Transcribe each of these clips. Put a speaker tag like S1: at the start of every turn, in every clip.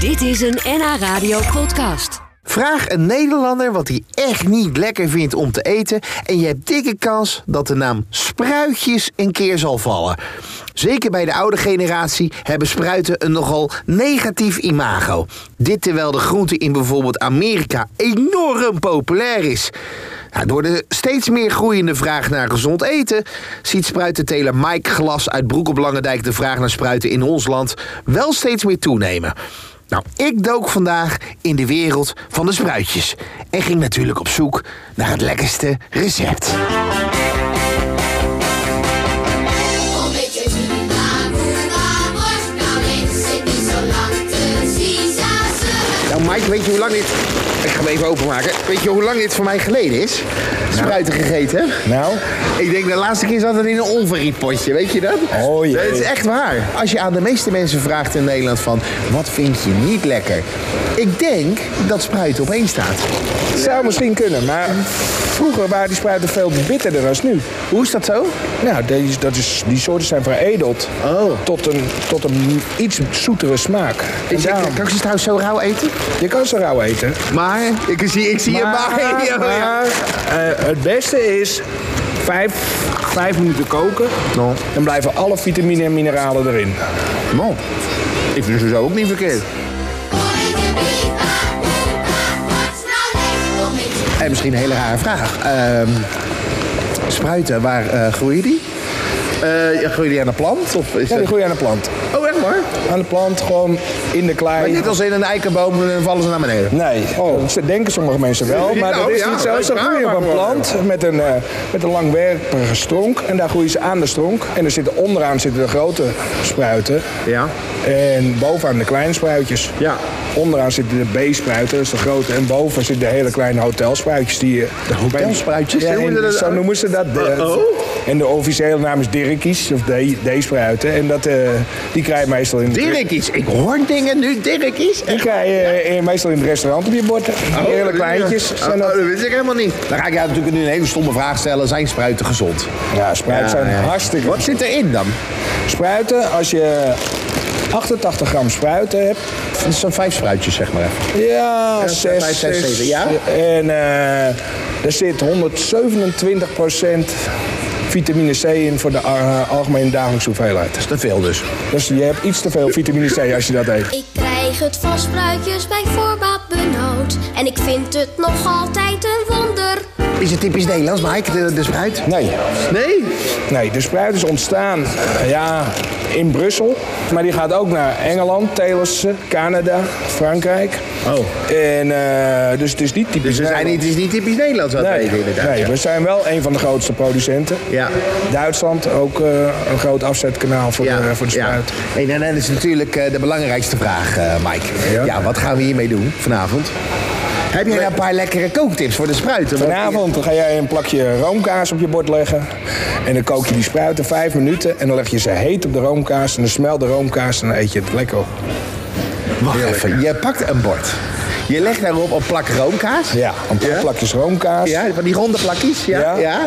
S1: Dit is een NH Radio podcast.
S2: Vraag een Nederlander wat hij echt niet lekker vindt om te eten. En je hebt dikke kans dat de naam spruitjes een keer zal vallen. Zeker bij de oude generatie hebben spruiten een nogal negatief imago. Dit terwijl de groente in bijvoorbeeld Amerika enorm populair is. Nou, door de steeds meer groeiende vraag naar gezond eten... ziet spruitenteler Mike Glas uit Broek op Langendijk... de vraag naar spruiten in ons land wel steeds meer toenemen. Nou, ik dook vandaag in de wereld van de spruitjes. En ging natuurlijk op zoek naar het lekkerste recept.
S3: Om beetje China, Cuba, Portugal, is het niet zo lang te zien. Ja, ze
S2: Nou, Mike, weet je hoe lang dit. Ik ga hem even openmaken. Weet je hoe lang dit voor mij geleden is? Spruiten gegeten heb?
S4: Nou?
S2: Ik denk de laatste keer zat het in een onverriet potje, weet je dat?
S4: Oh, jee.
S2: Dat is echt waar. Als je aan de meeste mensen vraagt in Nederland van wat vind je niet lekker? Ik denk dat spruiten op één staat.
S4: Zou misschien kunnen, maar vroeger waren die spruiten veel bitterder dan nu.
S2: Hoe is dat zo?
S4: Nou, die, dat is, die soorten zijn veredeld
S2: Oh.
S4: tot, een, tot een iets zoetere smaak. En
S2: Ik-
S4: daarom-
S2: Kan ik ze trouwens zo rauw eten?
S4: je kan ze rauw eten.
S2: Maar ik zie, ik zie je maar. Ja, maar ja.
S4: maar, eh, het beste is vijf, vijf minuten koken.
S2: Nou.
S4: Dan blijven alle vitamine en mineralen erin.
S2: Man, ik vind ze zo ook niet verkeerd.
S3: worden de Biba, Cuba, Portugal, nou om beetje
S2: En misschien een hele rare vraag. Ehm, spruiten, waar eh, groeien die? Eh, groeien die aan de plant? Of is
S4: Ja, die
S2: dat...
S4: groeien aan de plant.
S2: Oh, echt waar?
S4: Aan de plant, gewoon in de
S2: Maar
S4: klei.
S2: net als in een eikenboom, dan vallen ze naar beneden.
S4: Nee, oh. ze denken sommige mensen wel, maar
S2: Nou,
S4: dat is
S2: ja,
S4: niet zo.
S2: dat
S4: Ze
S2: is waar,
S4: groeien op
S2: maar
S4: een
S2: gewoon.
S4: plant met een, eh, met een langwerpige stronk en daar groeien ze aan de stronk. En er zitten onderaan zitten de grote spruiten
S2: Ja.
S4: en bovenaan de kleine spruitjes.
S2: Ja.
S4: Onderaan zitten de B-spruiten, dat is de grote, en boven zitten de hele kleine hotelspruitjes. Die, je-
S2: De hotelspruitjes,
S4: Ja,
S2: hoe
S4: en
S2: noemen ze dat?
S4: zo noemen ze dat. eh,
S2: Oh, oh.
S4: En de officiële naam is Dirkies, of D- D-spruiten. En dat, eh, die krijg je meestal in...
S2: Dirkies, ik hoor dingen nu, Dirkies.
S4: Die
S2: Echt?
S4: krijg je eh, meestal in het restaurant op je bord. Die hele kleintjes.
S2: Oh,
S4: zijn dat.
S2: dat wist ik helemaal niet. Dan ga ik jou natuurlijk nu een hele stomme vraag stellen. Zijn spruiten gezond?
S4: Ja, spruiten zijn hartstikke...
S2: Wat zit erin dan?
S4: Spruiten, als je 88 gram spruiten hebt...
S2: Dat zijn vijf spruitjes, zeg maar. even.
S4: Ja,
S2: vijf,
S4: 6,
S2: zes,
S4: 7,
S2: zeven, ja.
S4: En eh, er zit 127 vitamine C in voor de eh, algemene dagelijkse hoeveelheid.
S2: Te veel dus.
S4: Dus je hebt iets te veel vitamine C als je dat eet.
S5: Ik krijg het van spruitjes bij voorbaat benauwd. En ik vind het nog altijd een wonder.
S2: Is het typisch Nederlands, Mike, de, de spruit?
S4: Nee,
S2: Nee?
S4: nee, de spruit is ontstaan eh, ja, in Brussel. Maar die gaat ook naar Engeland, Telissen, Canada, Frankrijk.
S2: Oh.
S4: En, eh, dus het is niet typisch
S2: Dus we zijn
S4: Nederlands.
S2: niet, het is niet typisch Nederlands wat we
S4: Nee,
S2: eten, inderdaad.
S4: nee,
S2: ja.
S4: we zijn wel een van de grootste producenten.
S2: Ja.
S4: Duitsland ook eh, een groot afzetkanaal voor, de, voor de spruit.
S2: Ja. Hey, en dan is natuurlijk eh, de belangrijkste vraag, eh, Mike. Ja.
S4: Ja.
S2: wat gaan we hiermee doen vanavond? Heb jij nou een paar lekkere kooktips voor de spruiten? Want-
S4: Vanavond ga jij een plakje roomkaas op je bord leggen. En dan kook je die spruiten vijf minuten. En dan leg je ze heet op de roomkaas. En dan smelt de roomkaas en dan eet je het lekker op.
S2: Wacht even, je pakt een bord. Je legt daarop een plak roomkaas.
S4: Ja, een paar
S2: Ja?
S4: plakjes roomkaas.
S2: Ja, van die ronde plakjes. Ja, ja. ja.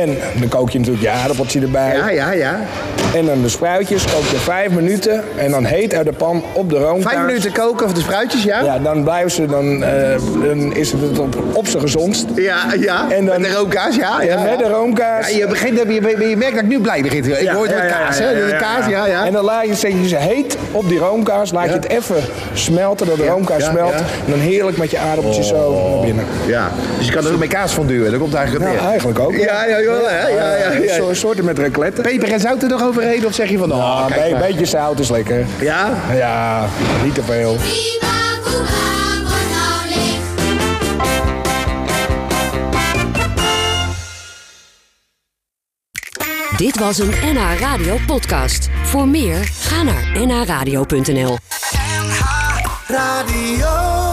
S4: En dan kook je natuurlijk je aardappeltje erbij.
S2: Ja, ja,
S4: En dan de spruitjes. Kook je vijf minuten. En dan heet uit de pan op de roomkaas.
S2: Vijf minuten koken of de spruitjes, ja?
S4: Ja, dan blijven ze. Dan, eh, dan is het op, op zijn gezondst.
S2: Ja, ja.
S4: En dan-
S2: met de roomkaas, ja. ja,
S4: Ja, met de roomkaas.
S2: Ja, je, begint, je, je- je merkt dat ik nu blij begint. Ik hoor het
S4: ja,
S2: woord
S4: ja,
S2: kaas,
S4: ja,
S2: hè?
S4: ja,
S2: De
S4: ja,
S2: kaas,
S4: ja.
S2: ja,
S4: En
S2: ja.
S4: dan laat je zet je ze heet op die roomkaas. Laat je het even smelten, dat de
S2: Ja,
S4: roomkaas
S2: ja,
S4: smelt.
S2: ja.
S4: En dan heerlijk met je aardappeltjes zo naar binnen.
S2: Ja, dus je kan er ook mee kaas van duwen. Dat komt eigenlijk op
S4: Nou,
S2: neer.
S4: eigenlijk ook.
S2: Ja, ja, jawel, hè? Ja, ja, ja.
S4: Zo- soorten met racletten.
S2: Peper en zout er nog overheen of zeg je van... Oh,
S4: Ah,
S2: kijk
S4: een
S2: maar.
S4: beetje zout is lekker.
S2: Ja?
S4: Ja, niet te veel.
S3: Biba, Cuba, Portugal, ligt.
S1: Dit was een NH Radio podcast. Voor meer, ga naar nhradio.nl.
S6: NH Radio.